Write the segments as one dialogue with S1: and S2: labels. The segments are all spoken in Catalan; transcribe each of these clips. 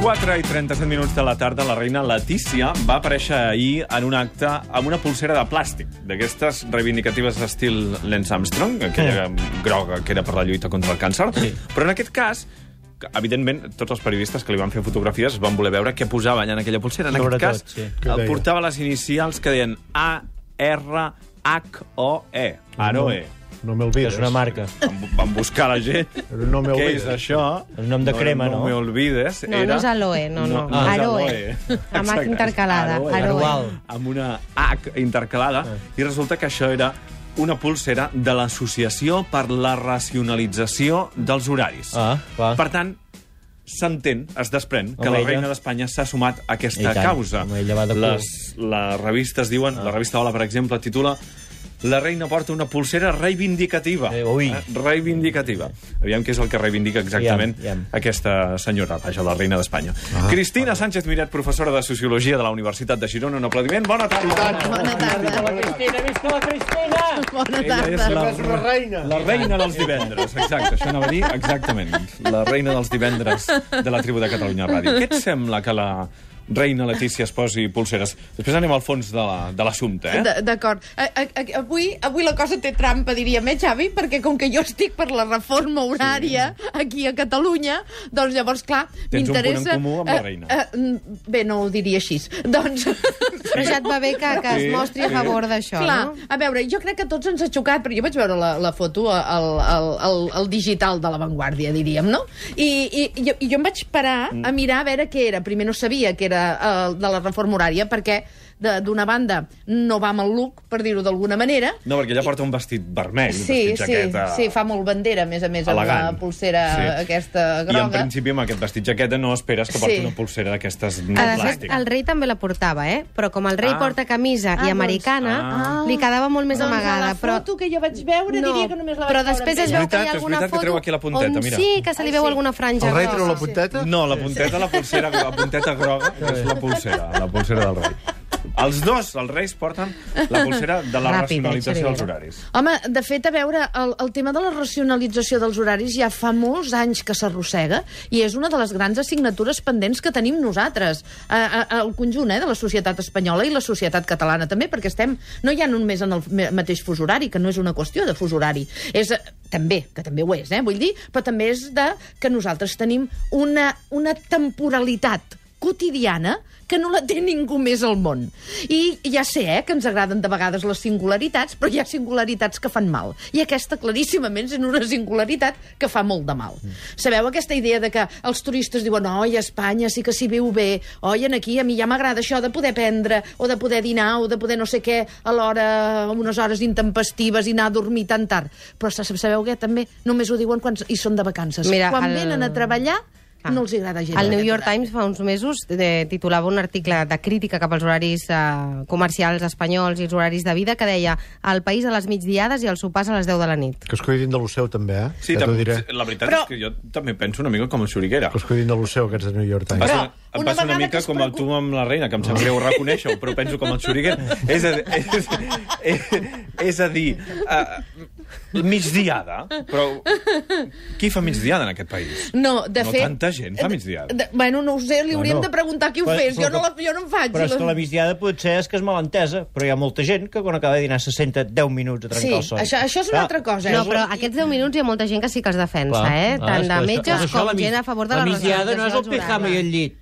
S1: 4 i 37 minuts de la tarda, la reina Letícia va aparèixer ahir en un acte amb una pulsera de plàstic, d'aquestes reivindicatives d'estil Lance Armstrong, aquella groga que era per la lluita contra el càncer. Però en aquest cas, que, evidentment, tots els periodistes que li van fer fotografies van voler veure què posaven en aquella pulsera. En
S2: Sobretot,
S1: aquest cas,
S2: sí.
S3: Què deia?
S1: portava les inicials que deien A-R-H-O-E. Aroe.
S3: No m'olvides.
S2: És una marca.
S1: Van, van buscar la gent.
S3: No
S1: Què
S3: m'olvides.
S1: és això?
S2: Un nom de crema, no?
S1: No me olvides.
S4: No, no és aloe, no, no.
S1: és
S4: Aroe. Amb H
S1: Exacte, és
S4: intercalada, aroe.
S2: Anual.
S1: Amb una H intercalada.
S2: Ah.
S1: I resulta que això era una pulsera de l'Associació per la Racionalització dels Horaris.
S2: Ah, clar.
S1: Per tant, s'entén, es desprèn, que
S2: Home,
S1: la
S2: ella.
S1: reina d'Espanya s'ha sumat a aquesta
S2: I tant,
S1: causa.
S2: home, ella va de cul.
S1: Les, les revistes diuen,
S2: Ah.
S1: la revista Hola, per exemple, titula la reina porta una pulsera reivindicativa.
S2: Eh, ui.
S1: Eh, Reivindicativa. Aviam què és el que reivindica exactament
S2: Aviam, Ah. aviam.
S1: aquesta senyora, vaja, la reina d'Espanya. Cristina Sánchez Miret, professora de Sociologia de la Universitat de Girona. Un aplaudiment. Bona tarda.
S4: Bona tarda.
S2: Cristina, visca la Cristina!
S4: Bona
S1: Ella és
S4: tarda.
S1: la,
S3: És una reina.
S1: la reina dels divendres, exacte, això anava a dir exactament. La reina dels divendres de la tribu de Catalunya Ràdio. Què et sembla que la reina Letícia es posi pulseres? Després anem al fons de la- de l'assumpte, eh?
S4: D- D'acord. A- a- a- Avui, avui la cosa té trampa, diria més, Xavi, perquè com que jo estic per la reforma horària sí. aquí a Catalunya, doncs llavors, clar,
S1: Tens un punt en
S4: m'interessa...
S1: comú amb la reina.
S4: eh, eh, bé, no ho diria així. Doncs...
S5: Però ja et va bé que, que
S1: Sí,
S5: es mostri
S1: sí.
S5: a favor d'això,
S4: Clar,
S5: no?
S4: a veure, jo crec que a tots ens ha xocat, perquè jo vaig veure la, la foto al, al, al, al digital de l'avantguàrdia, diríem, no? I, i, i, jo, i jo em vaig parar
S1: Mm.
S4: a mirar a veure què era. Primer no sabia que era el de la reforma horària, perquè de- d'una banda no va amb el look, per dir-ho d'alguna manera,
S1: No, perquè ella porta un vestit vermell, un
S4: Sí,
S1: vestit
S4: sí,
S1: jaqueta...
S4: sí, fa molt bandera, a més a més,
S1: elegant.
S4: amb la pulsera aquesta
S1: I en
S4: groga.
S1: principi amb aquest vestit jaqueta no esperes que porti
S4: Sí.
S1: una pulsera d'aquestes no
S5: Ah, de fet,
S1: plàstica.
S5: el rei també la portava, eh? Però com el rei
S1: Ah.
S5: porta camisa
S4: Ah,
S5: i
S4: doncs.
S5: americana,
S4: Ah.
S5: li quedava molt més
S4: Doncs
S5: amagada.
S4: a la
S5: però...
S4: foto que jo vaig veure
S5: No,
S4: diria que només la vaig
S5: però
S4: veure
S5: després
S4: amb
S5: es
S1: ella.
S5: veu
S1: És
S5: que hi ha
S1: veritat, és
S5: alguna
S1: veritat que
S5: foto
S1: treu aquí la punteta,
S5: on
S1: mira.
S5: sí que se li
S4: Ai,
S5: veu
S4: sí.
S5: alguna franja
S3: El rei treu la
S5: groga.
S3: punteta?
S1: No, la punteta, la pulsera, la punteta groga, que és la pulsera, la pulsera del rei. Els dos, els reis, porten la pulsera de la
S5: Ràpid,
S1: racionalització
S5: Xavier.
S1: dels horaris.
S4: Home, de fet, a veure, el, el tema de la racionalització dels horaris ja fa molts anys que s'arrossega i és una de les grans assignatures pendents que tenim nosaltres, eh, eh, el conjunt eh, de la societat espanyola i la societat catalana també, perquè estem no ja només en el me- mateix fus horari, que no és una qüestió de fus horari, és eh, també, que també ho és, eh, vull dir, però també és de que nosaltres tenim una, una temporalitat quotidiana que no la té ningú més al món. I ja sé, eh, que ens agraden de vegades les singularitats, però hi ha singularitats que fan mal. I aquesta, claríssimament, és una singularitat que fa molt de mal.
S5: Mm.
S4: Sabeu aquesta idea de que els turistes diuen oi, a Espanya sí que s'hi viu bé, oi, en aquí a mi ja m'agrada això de poder prendre, o de poder dinar, o de poder no sé què, a l'hora, a unes hores intempestives i anar a dormir tan tard. Però sa- sabeu què? També només ho diuen quan hi són de vacances.
S5: Mira,
S4: quan
S5: el-
S4: venen a treballar,
S5: Ah.
S4: no els agrada gens.
S5: El New
S4: aquest
S5: York
S4: horari.
S5: Times fa uns mesos eh, titulava un article de crítica cap als horaris eh, comercials espanyols i els horaris de vida que deia el país a les migdiades i els sopars a les 10 de la nit.
S3: Que es cuidin de lo seu, també, eh?
S1: Sí,
S3: ja t'ho
S1: també,
S3: diré.
S1: la veritat
S4: Però-
S1: és que jo també penso una mica com a xuriguera.
S3: Que es cuidin de lo seu, aquests de New York Times.
S1: Passa,
S4: Però,
S1: em
S4: una
S1: passa una
S4: vegada que
S1: mica
S4: es
S1: com el tu
S4: preocupa-
S1: amb la reina, que em sap greu reconèixer-ho, però penso com el xuriguer. És a, és, és, és a dir, uh, migdiada, però qui fa migdiada en aquest país?
S4: No, de
S1: No
S4: fet...
S1: tanta gent fa migdiada.
S4: De, bueno, no ho sé, li hauríem
S2: Bueno,
S4: de preguntar qui ho
S2: però-
S4: fes. Jo
S2: però-
S4: no, la, jo no en faig.
S2: Però és que la migdiada potser és que és malentesa, però hi ha molta gent que quan acaba de dinar se senta 10 minuts a
S4: Sí,
S2: trencar el son.
S4: això, això és una altra cosa. eh?
S5: No, però aquests 10 minuts hi ha molta gent que sí que els defensa,
S2: Clar.
S5: eh?
S2: Clar, és
S5: Tant de
S2: que això-
S5: metges
S2: això
S5: com
S2: la mig-
S5: gent a favor de
S2: la
S5: la
S2: migdiada no és el
S5: racionalització dels
S2: pijama i
S5: horaris.
S2: el llit.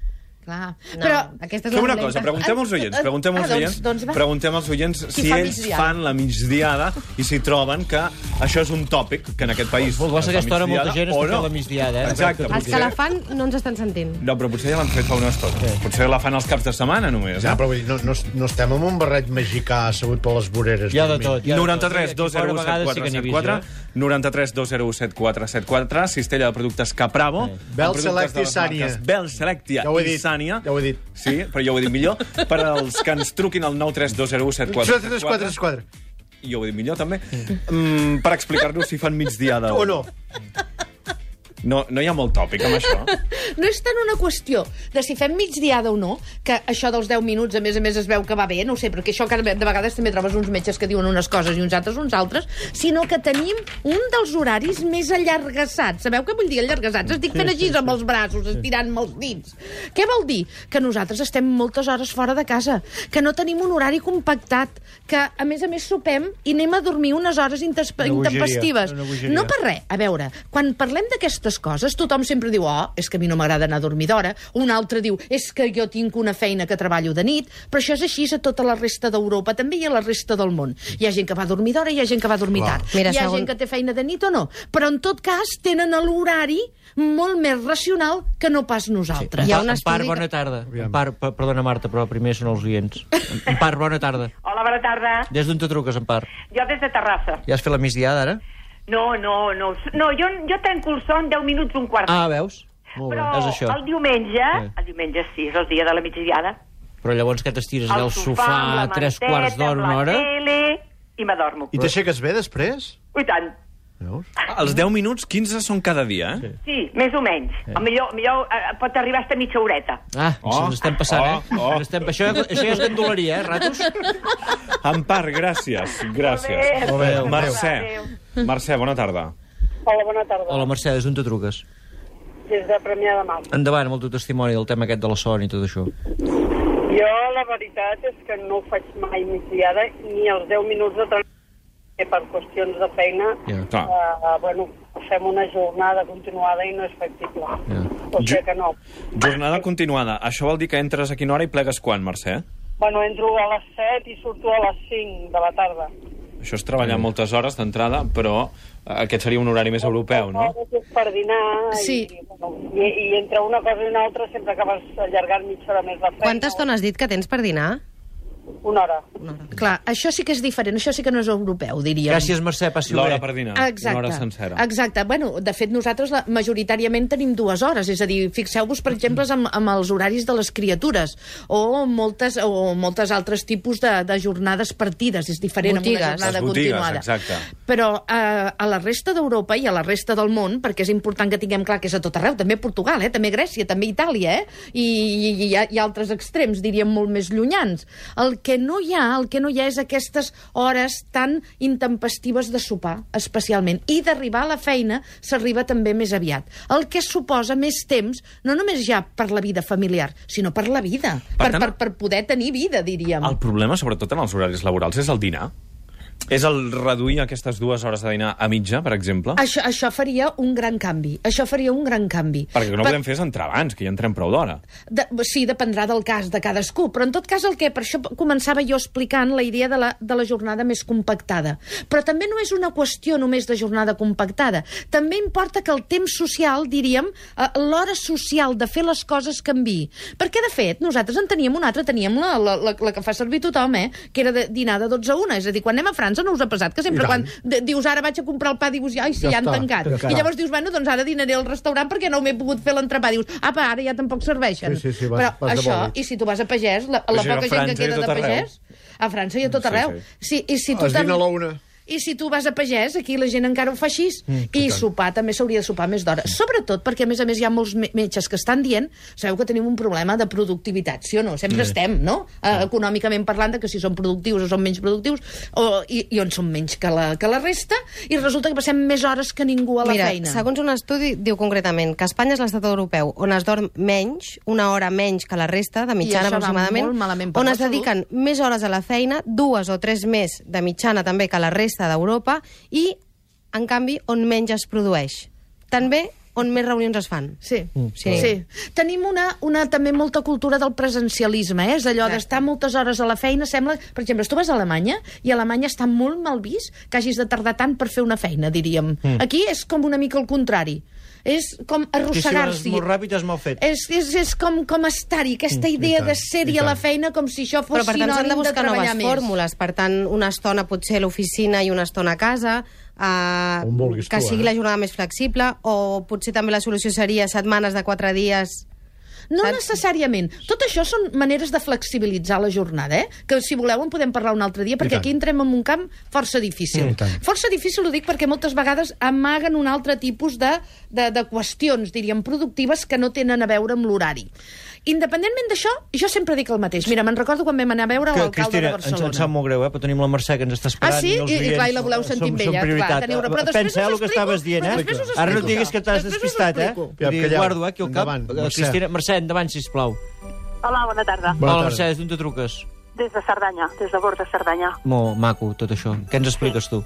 S4: Clar.
S5: No,
S4: però...
S5: aquesta és la
S1: Fem una
S5: dolenta.
S1: cosa, preguntem als oients, preguntem als
S4: Ah, doncs-
S1: oients,
S4: doncs va.
S1: preguntem als oients si
S4: fa
S1: ells
S4: migdiada?
S1: fan la migdiada i si troben que això és un tòpic que en aquest país...
S2: Vol dir
S1: es fa
S2: que aquesta hora molta
S1: migdiada
S2: gent
S1: o
S2: està fent
S1: no.
S2: la migdiada, eh?
S1: Exacte.
S5: Els que la fan no ens estan sentint.
S1: No, però potser ja l'han fet fa una estona. Potser la fan els caps de setmana, només.
S3: Ja,
S1: eh?
S3: però vull dir, no, no, no estem amb un barret mexicà assegut per les voreres.
S2: Hi ha de
S3: dormint.
S2: tot. hi ha de tot.
S1: 93
S2: Aquí fora a vegades
S1: 201
S2: sí que n'hi he
S1: 7474
S2: vist,
S1: 93 201 7474 cistella de productes Capravo amb
S3: Bel
S1: productes
S3: Select
S1: de les
S3: i Sània.
S1: marques Bel Selectia
S3: Ja ho he
S1: i
S3: dit,
S1: Sània
S3: ja ho he dit.
S1: sí, però jo ho he dit millor per als que ens truquin al 93 201 7474
S3: 4-3-4-3-4.
S1: jo ho he dit millor també mm, per explicar-nos si fan migdiada
S3: O no.
S1: No, no hi ha molt tòpic amb això.
S4: No és tant una qüestió de si fem migdiada o no, que això dels 10 minuts, a més a més, es veu que va bé, no ho sé, perquè això que de vegades també trobes uns metges que diuen unes coses i uns altres uns altres, sinó que tenim un dels horaris més allargassats. Sabeu què vull dir allargassats? Estic fent així amb els braços, estirant-me els dits. Què vol dir? Que nosaltres estem moltes hores fora de casa, que no tenim un horari compactat, que, a més a més, sopem i anem a dormir unes hores intes-
S2: Una bogeria,
S4: intempestives.
S2: una bogeria.
S4: No per res. A veure, quan parlem d'aquestes coses, tothom sempre diu, oh, és que a mi no m'agrada anar a dormir d'hora. Un altre diu, és que jo tinc una feina que treballo de nit. Però això és així a tota la resta d'Europa, també i a la resta del món. Hi ha gent que va a dormir d'hora, hi ha gent que va a dormir tard.
S5: Mira,
S4: hi ha
S5: segon-
S4: gent que té feina de nit o no. Però, en tot cas, tenen l'horari molt més racional que no pas nosaltres.
S5: Hi ha un
S6: Em part,
S5: estudi que-
S6: bona tarda. Em part, per- perdona, Marta, però primer són els oients. Em part, bona tarda.
S7: Hola, bona tarda.
S6: Des d'on te truques, en part?
S7: Jo des de Terrassa.
S6: Ja has fet la migdiada, ara?
S7: No, no, no. No, jo, jo trenco el son 10 minuts, un quart.
S6: Ah, veus? Molt bé,
S7: Però
S6: és això.
S7: el diumenge,
S6: Sí.
S7: el diumenge sí, és el dia de la migdiada.
S6: Però llavors que t'estires
S7: Al
S6: allà al sofà a
S7: amb la
S6: tres
S7: manteta,
S6: quarts d'hora,
S7: amb
S6: una
S7: la
S6: hora...
S7: Tele, I m'adormo.
S3: I t'aixeques bé després?
S7: I tant.
S3: Veus?
S1: Els 10 minuts, 15 són cada dia, eh?
S7: Sí, més o menys. El millor, millor eh, pot arribar a mitja horeta.
S6: Ah,
S1: Oh,
S6: ens estem passant, eh?
S1: oh, oh.
S6: Ens Estem... Això, això ja és gandoleria, eh, ratos?
S1: Sí. En part, gràcies, gràcies.
S7: Molt
S6: bé, adéu.
S1: Mercè,
S7: Adéu.
S1: Mercè, bona tarda.
S8: Hola, bona tarda.
S6: Hola, Mercè, des d'on te truques?
S8: Des de Premià de Mar.
S6: Endavant amb el teu testimoni del tema aquest de la son i tot això.
S8: Jo, la veritat és que no faig mai migdiada ni els 10 minuts de transport per qüestions de feina,
S6: Ja,
S1: clar.
S8: eh, bueno, fem una jornada continuada i no és factible.
S6: Ja.
S8: O sigui
S1: Jo-
S8: que no.
S1: Jornada continuada. Això vol dir que entres a quina hora i plegues quan, Mercè?
S8: Bueno, entro a les 7 i surto a les 5 de la tarda.
S1: Això és treballar moltes hores d'entrada, però eh, aquest seria un horari més europeu,
S6: Ah.
S1: no?
S8: Per dinar
S4: Sí.
S8: i, bueno, i, i entre una cosa i una altra sempre acabes allargant mitja hora més la feina.
S5: Quanta estona has dit que tens per dinar?
S8: Una hora.
S4: Clar, això sí que és diferent, això sí que no és europeu, diríem.
S6: Gràcies, Mercè, passi
S1: L'hora
S6: bé.
S1: per dinar,
S4: Exacte.
S1: una hora sencera.
S4: Exacte. Bueno, de fet, nosaltres la, majoritàriament tenim dues hores. És a dir, fixeu-vos, per exemple, amb, amb els horaris de les criatures o moltes, o moltes altres tipus de, de jornades partides. És diferent
S5: Botigues.
S4: amb una jornada
S1: Les botigues,
S4: continuada.
S1: exacte.
S4: Però eh, a la resta d'Europa i a la resta del món, perquè és important que tinguem clar que és a tot arreu, també Portugal, eh? també Grècia, també Itàlia, eh? I, i, i, hi ha- hi ha altres extrems, diríem, molt més llunyans. El que no hi ha, el que no hi ha és aquestes hores tan intempestives de sopar, especialment. I d'arribar a la feina s'arriba també més aviat. El que suposa més temps, no només ja per la vida familiar, sinó per la vida, per, per,
S1: tant-
S4: per, per poder tenir vida, diríem.
S1: El problema, sobretot en els horaris laborals, és el dinar. És el reduir aquestes dues hores de dinar a mitja, per exemple?
S4: Això, això faria un gran canvi. Això faria un gran canvi.
S1: Perquè el que no podem fer és entrar abans, que ja entrem prou d'hora.
S4: De, sí, dependrà del cas de cadascú, però en tot cas el que, per això començava jo explicant la idea de la, de la jornada més compactada. Però també no és una qüestió només de jornada compactada. També importa que el temps social, diríem, eh, l'hora social de fer les coses canvi. Perquè, de fet, nosaltres en teníem una altra, teníem la, la, la, la que fa servir tothom, eh? que era de dinar de 12 a 1. És a dir, quan anem a França no us ha passat que sempre quan de- dius ara vaig a comprar el pa, dius ai, sí,
S3: Ja
S4: ja, han
S3: està,
S4: tancat.
S3: ja està.
S4: I llavors dius, bueno, doncs ara dinaré al restaurant perquè no m'he pogut fer l'entrepà. Dius, apa, ara ja tampoc serveixen.
S3: Sí, sí, sí, vas-
S4: Però
S3: vas de
S4: això,
S3: bòlit.
S4: i si tu vas a pagès, la, la
S1: Sí, a
S4: poca gent
S1: França i a
S4: que queda
S1: tot
S4: de
S1: arreu.
S4: pagès... A França i a tot
S1: Sí,
S4: arreu.
S1: sí.
S4: Sí, i si tu
S3: Ah, Es dina a la una.
S4: i si tu vas a pagès, aquí la gent encara ho fa així. Mm, I sopar també s'hauria de sopar més d'hora. Sobretot perquè, a més a més, hi ha molts me- metges que estan dient sabeu que tenim un problema de productivitat, sí o no? Sempre
S3: Mm.
S4: estem, no? Eh, econòmicament parlant, de que si som productius o som menys productius, o, i, i on som menys que la, que la resta, i resulta que passem més hores que ningú a la
S5: Mira,
S4: feina.
S5: segons un estudi, diu concretament que Espanya és l'estat europeu on es dorm menys, una hora menys que la resta, de mitjana
S4: això va
S5: aproximadament,
S4: molt malament per
S5: on
S4: la
S5: es dediquen més hores a la feina, dues o tres més de mitjana també que la resta d'Europa, i, en canvi, on menys es produeix. També on més reunions es fan.
S4: Sí.
S5: sí.
S4: sí. sí. Tenim una, una també molta cultura del presencialisme, eh? és allò
S5: Exacte.
S4: d'estar moltes hores a la feina, sembla... Per exemple, tu vas a Alemanya, i a Alemanya està molt mal vist que hagis de tardar tant per fer una feina, diríem. Mm. Aquí és com una mica el contrari. És com
S6: I si vas
S4: arrossegar-s'hi.
S6: molt ràpid, és mal fet.
S4: és, és, és com, com estar-hi, aquesta idea de ser-hi a la feina com si això fos
S5: Però, per tant, s'han de
S4: sinònim de
S5: buscar
S4: treballar
S5: noves
S4: més.
S5: fórmules. Per tant, una estona potser a l'oficina i una estona a casa, eh,
S3: On vulguis
S5: que
S3: tu,
S5: sigui
S3: eh?
S5: la jornada més flexible, o potser també la solució seria setmanes de quatre dies
S4: No
S5: Saps?
S4: necessàriament. Tot això són maneres de flexibilitzar la jornada, eh? que si voleu en podem parlar un altre dia, perquè
S3: tant.
S4: aquí entrem en un camp força difícil.
S3: I tant.
S4: Força difícil ho dic perquè moltes vegades amaguen un altre tipus de, de, de qüestions, diríem, productives que no tenen a veure amb l'horari. Independentment d'això, jo sempre dic el mateix. Mira, me'n recordo quan vam anar a veure
S6: Que,
S4: l'alcalde de
S6: Cristina, ens,
S4: Barcelona.
S6: ens sap molt greu, eh? però tenim la Mercè que ens està
S4: Ah,
S6: esperant.
S4: sí?
S6: els
S4: I, i clar,
S6: oients
S4: i la voleu
S6: som-
S4: sentir amb
S6: som
S4: ella. Clar,
S6: prioritat.
S4: teniu... raó. Però després
S6: Pensa, eh,
S4: us
S6: el que estaves dient, eh?
S4: Després us
S6: Ara no
S4: explico.
S6: diguis que t'has
S4: Després us
S6: despistat, eh?
S4: explico.
S6: Vull dir,
S3: Calleu.
S6: Guardo, eh, aquí al cap.
S3: Endavant,
S6: Eh,
S3: Mercè.
S6: Cristina, Mercè, endavant, sisplau.
S9: Hola, bona tarda.
S3: Bona
S6: Hola,
S3: tarda.
S6: Mercè, des d'on te truques?
S9: Des de Cerdanya, des de Bord de Cerdanya.
S6: Molt maco, tot això. Què ens expliques tu?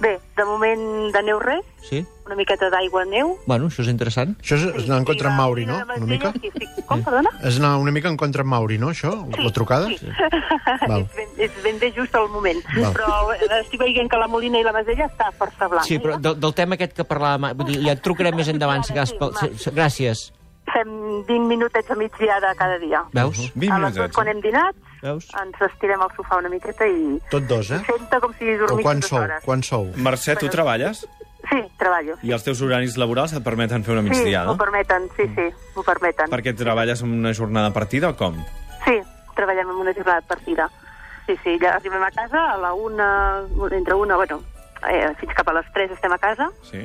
S9: Bé, de moment de neu res,
S6: Sí?
S9: una miqueta d'aigua neu.
S6: Bueno, això és interessant.
S3: Això és, és anar en contra en Mauri, no? Una mica?
S9: Sí, sí. Com, perdona?
S3: És anar una mica en contra en Mauri, no, això? La trucada? Sí. Val.
S9: És ben, és ben bé just al moment.
S3: Val.
S9: Però eh, estic veient que la Molina i la Masella està força blanca.
S6: Sí, però del, del tema aquest que parlàvem... Vull dir, ja et trucarem més endavant, si cas.
S9: Sí,
S6: Pel...
S9: va.
S6: si- Gràcies.
S9: Fem 20 minutets a migdiada cada dia.
S6: Veus?
S9: a les dues, quan hem dinat,
S6: Uh-huh. Veus?
S9: ens estirem al sofà una miqueta i...
S3: Tot dos, eh?
S9: Senta com si
S3: Però
S9: dormissin
S3: quan
S9: dues
S3: sou?
S9: hores.
S3: Quan sou?
S1: Mercè, tu treballes
S9: Sí, treballo.
S1: i els teus horaris laborals et permeten fer una
S9: Sí,
S1: migdiada?
S9: m'ho permeten, sí, sí, m'ho permeten.
S1: Perquè treballes en una jornada partida o com?
S9: Sí, treballem en una jornada de partida. Sí, sí, ja arribem a casa a la una, entre una, bueno, eh, fins cap a les tres estem a casa
S1: Sí.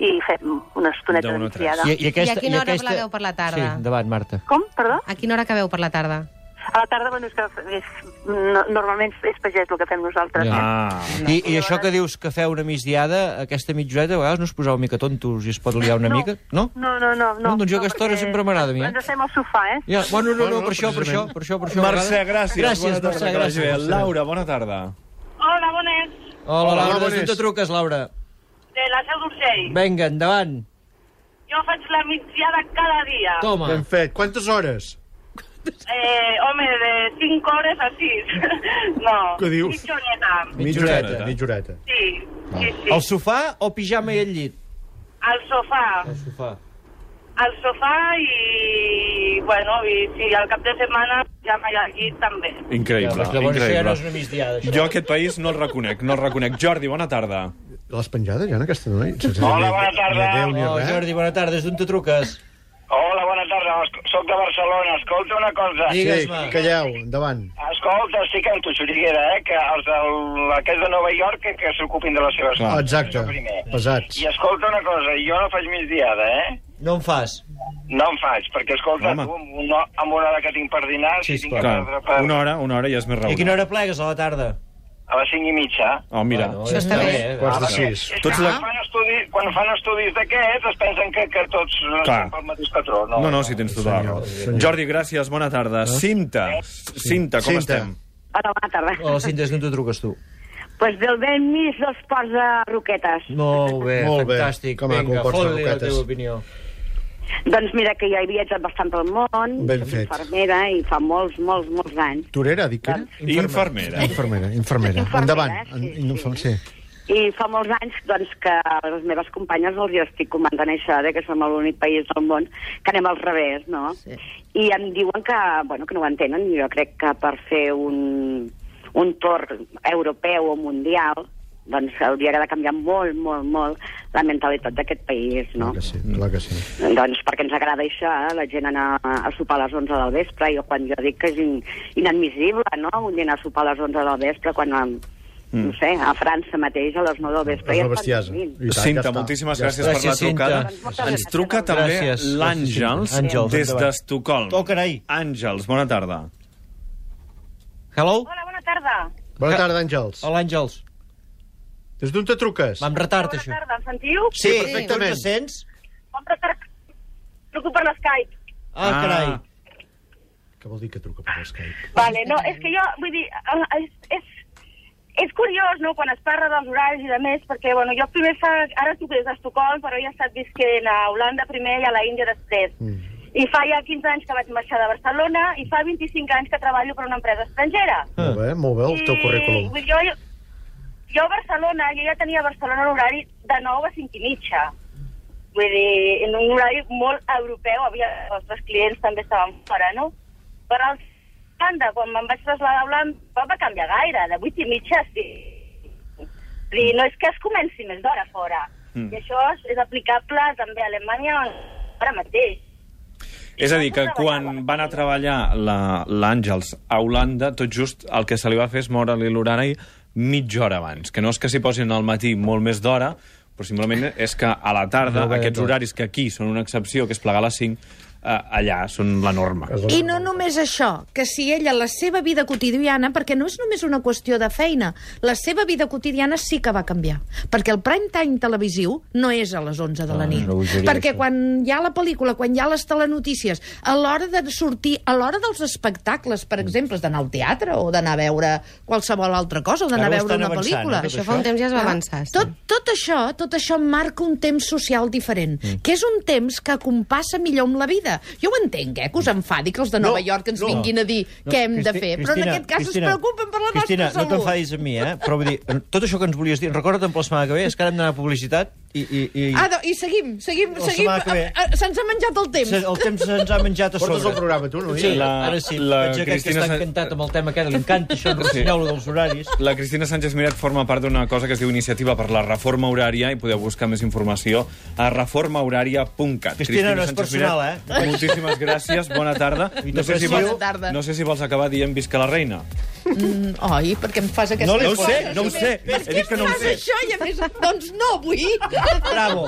S9: i fem una estoneta
S1: De
S9: de
S1: una a tres.
S9: migdiada.
S6: I, i, aquesta,
S5: I a quina hora plegueu per la tarda?
S6: Sí, endavant, Marta.
S9: Com, perdó?
S5: A quina hora acabeu per la tarda?
S9: A la tarda, bueno, és que és, no, normalment és pagès el que fem nosaltres.
S6: Ja.
S1: Ah,
S6: I, I això que dius que feu una migdiada, aquesta mitjoreta, a vegades no us poseu una mica tontos i es pot liar una mica? No?
S9: No, no, no.
S6: No, doncs jo a aquesta hora
S9: perquè
S6: sempre m'agrada a mi, eh?
S9: Ens estem al sofà, eh?
S6: Ja, bueno, no, no,
S3: Bueno,
S6: per això, per això,
S3: precisament.
S6: per això, per això. a
S1: Mercè,
S6: vegades-
S1: gràcies.
S6: Gràcies,
S1: Bona tarda,
S6: Mercè,
S1: que vagi bé.
S6: gràcies.
S1: Laura, bona tarda.
S7: Hola, bones.
S6: Hola,
S1: Hola,
S6: Laura,
S1: bones.
S6: des d'on te truques, Laura?
S7: De la Seu d'Urgell.
S6: Vinga, endavant.
S7: Jo faig la mitjada cada dia.
S6: Toma.
S3: Ben fet. Quantes hores?
S7: Eh, home, de 5 hores a 6. no,
S3: Què dius?
S7: mitjoneta.
S1: Mitja horeta.
S3: Mitja horeta.
S7: Sí,
S6: Ah.
S7: sí, sí.
S6: Al sofà o pijama i al llit?
S7: Al sofà.
S6: Al sofà.
S7: Al sofà i... Bueno, i si al cap de setmana ja m'hi ha llit també.
S1: Increïble,
S6: Llavors això ja no
S1: increïble.
S6: és una migdiada, això.
S1: Jo aquest país no el reconec, no el reconec. Jordi, bona tarda.
S3: L'has penjada ja en aquesta noi? Sense
S10: Hola,
S3: dir
S10: bona
S3: ni-
S10: tarda.
S3: Ni adéu ni
S6: Oh,
S3: res.
S6: Jordi, bona tarda, des d'on te truques?
S10: Hola, bona tarda. Esc- Soc de Barcelona. Escolta una cosa.
S6: Sí.
S3: Sí,
S6: Digues-me.
S3: calleu, endavant.
S10: Ah, Escolta, estic en tu xuriguera, eh? Que els del, aquests de Nova York que, que s'ocupin de les seves
S1: Clar.
S10: coses.
S3: Ah, Exacte.
S10: Això primer.
S3: Pesats.
S10: I escolta una cosa, jo no faig migdiada, eh?
S6: No em fas.
S10: No en faig, perquè escolta,
S1: Home.
S10: tu, amb una, amb una hora que tinc per dinar,
S6: Sí,
S10: si tinc que
S6: esclar.
S10: perdre per...
S1: Una hora, una hora ja és més
S6: I a
S1: raonable.
S6: quina hora plegues a la tarda?
S10: A les cinc i mitja.
S1: Oh, mira,
S5: Això
S6: eh,
S5: està bé.
S3: Quarts de sis.
S10: És
S1: Tots
S10: que
S1: la-
S10: quan, fan estudis, quan fan estudis d'aquests es pensen que, que tots eh,
S1: Clar.
S10: són pel mateix patró. No,
S1: no, no, si tens tota la raó. Jordi, gràcies, bona tarda. Cinta, Cinta, com
S3: Cinta.
S1: estem?
S9: Hola, bona tarda.
S6: O a les cintes Oh, d'on te truques tu?
S9: Pues del vent mig dels ports de Roquetes.
S3: Mm.
S6: Molt bé,
S3: Molt bé.
S6: fantàstic.
S3: Que maco,
S6: Vinga,
S3: Costa
S6: fot-li la
S3: Roquetes.
S6: teva opinió.
S9: Doncs mira que jo he viatjat bastant pel món,
S3: Ben
S9: soc
S3: fet.
S9: infermera i fa molts, molts, molts anys.
S3: Torera, dic que era?
S1: Infermera.
S3: Infermera, infermera.
S9: Infermera,
S3: Endavant.
S9: sí,
S3: En-
S9: sí.
S3: infer- Sí.
S9: I fa molts anys doncs, que a les meves companyes els jo estic comentant això, de que som l'únic país del món que anem al revés, no?
S4: Sí.
S9: Sí. I em diuen que, bueno, que no ho entenen. Jo crec que per fer un, un torn europeu o mundial doncs hauria de canviar molt, molt, molt la mentalitat d'aquest país, no?
S3: Clar que sí, clar que sí.
S9: Doncs perquè ens agrada això, eh? la gent anar a sopar a les 11 del vespre, jo quan jo dic que és in, inadmissible, no?, un dinar a sopar a les 11 del vespre, quan, mm. no sé, a França mateix a les 9 del vespre...
S3: És
S9: ja
S3: una
S9: estan
S3: bestiesa.
S9: dormint.
S3: I tant, ja
S1: Cinta,
S3: està.
S1: moltíssimes
S3: Ja
S1: gràcies
S3: està.
S1: per la
S6: Gràcies, Cinta.
S1: trucada.
S9: Doncs moltes
S1: Ens
S9: gràcies.
S1: truca també
S6: Gràcies.
S1: l'Àngels
S6: Àngels,
S1: des
S6: endavant.
S1: d'Estocolm.
S6: Oh, carai.
S1: Àngels, bona tarda.
S6: Hello?
S7: Hola, bona tarda.
S1: Eh,
S3: Bona tarda, Àngels.
S6: Hola, Àngels.
S3: Des d'on te truques?
S6: Va amb retard,
S7: Bona
S6: això.
S7: tarda, em sentiu?
S6: Sí,
S3: Sí, perfectament.
S6: Tu ens sents?
S7: Bon retard. Truco per l'Skype.
S6: Ah,
S1: Ah.
S6: carai.
S3: Què vol dir que truca per Skype?
S7: Vale, no, és que jo, vull dir, eh, és, és, és curiós, no?, quan es parla dels horaris i de més, perquè, bueno, jo primer fa... Ara tu que és a Estocolm, però ja he estat visquent a Holanda primer i a la Índia després. Mm. I fa ja 15 anys que vaig marxar de Barcelona i fa 25 anys que treballo per una empresa estrangera.
S1: Ah.
S3: Molt bé, molt bé, el teu
S7: I,
S3: currículum.
S7: vull dir, Jo, jo, jo a Barcelona, jo ja tenia a Barcelona l'horari de 9 a 5 i mitja. Vull dir, en un horari molt europeu, havia, els meus clients també estaven fora, no? Però al Holanda, quan me'n vaig traslladar a Holanda, no va canviar gaire, de 8 i mitja, sí. Vull dir, no és que es comenci més d'hora fora. Mm. I això és- és aplicable també a Alemanya ara mateix.
S1: És a dir, que quan van a treballar la- l'Àngels a Holanda, tot just el que se li va fer és moure-li l'horari mitja hora abans. Que no és que s'hi posin al matí molt més d'hora, però simplement és que a la tarda,
S6: No va de
S1: aquests
S6: tot.
S1: horaris que aquí són una excepció, que és plegar a les 5, eh, allà són la norma.
S4: I no només això, que si ella, la seva vida quotidiana, perquè no és només una qüestió de feina, la seva vida quotidiana sí que va canviar. Perquè el prime time televisiu no és a les 11 de la
S11: Ah,
S4: nit.
S11: no ho diria,
S4: perquè
S11: això.
S4: quan hi ha la pel·lícula, quan hi ha les telenotícies, a l'hora de sortir, a l'hora dels espectacles,
S2: Mm.
S4: per exemple, és d'anar al teatre o d'anar a veure qualsevol altra cosa, o d'anar a
S2: Ara ho
S4: veure
S2: estan
S4: una
S2: avançant,
S4: pel·lícula.
S2: eh, tot
S5: Això fa un temps ja es va
S4: Ah,
S5: avançar, sí.
S4: Tot, tot això, tot això marca un temps social diferent, mm. que és un temps que compassa millor amb la vida. Jo ho entenc, eh, que us enfadi que els de Nova
S2: No,
S4: York ens
S2: no.
S4: vinguin a dir
S2: No,
S4: què hem de
S2: Cristi-
S4: fer, però en
S2: Cristina,
S4: aquest cas
S2: Cristina,
S4: es preocupen per la
S6: Cristina,
S4: nostra
S6: no
S4: salut.
S6: t'enfadis amb mi, eh? Però vull dir, tot això que ens volies dir, recorda't per la setmana que ve, és que ara hem d'anar a publicitat i... i, i...
S4: Ah, no, i seguim, seguim,
S6: La
S4: seguim.
S6: setmana que ve.
S4: Ah, ah, Se'ns ha menjat el temps.
S6: Se- El temps se'ns ha menjat a sobre.
S3: Portes el programa, tu, no?
S6: Sí, la,
S1: La-
S6: ara sí.
S1: la
S6: veig aquest
S1: Cristina
S6: que està
S1: s'ha-
S6: encantat amb el tema que ara li encanta, això, el rossinyol dels horaris.
S1: La Cristina Sánchez Miret forma part d'una cosa que es diu Iniciativa per la Reforma Horària i podeu buscar més informació a reformahoraria.cat.
S6: Cristina, no és
S1: Sánchez
S6: personal, eh?
S1: Miret, Moltíssimes gràcies, bona tarda.
S6: I
S1: No sé, si
S6: t'aprecio.
S1: vols,
S4: Bona tarda.
S1: no sé si vols acabar dient visca la reina.
S4: Mm, oi, per què em fas aquesta
S1: No li- no ho
S4: cosa?
S1: sé, no ho sé.
S4: Per
S1: He
S4: què
S1: dit que no ho
S4: em fas
S1: sé.
S4: això? I a més, doncs no, vull.
S6: Bravo.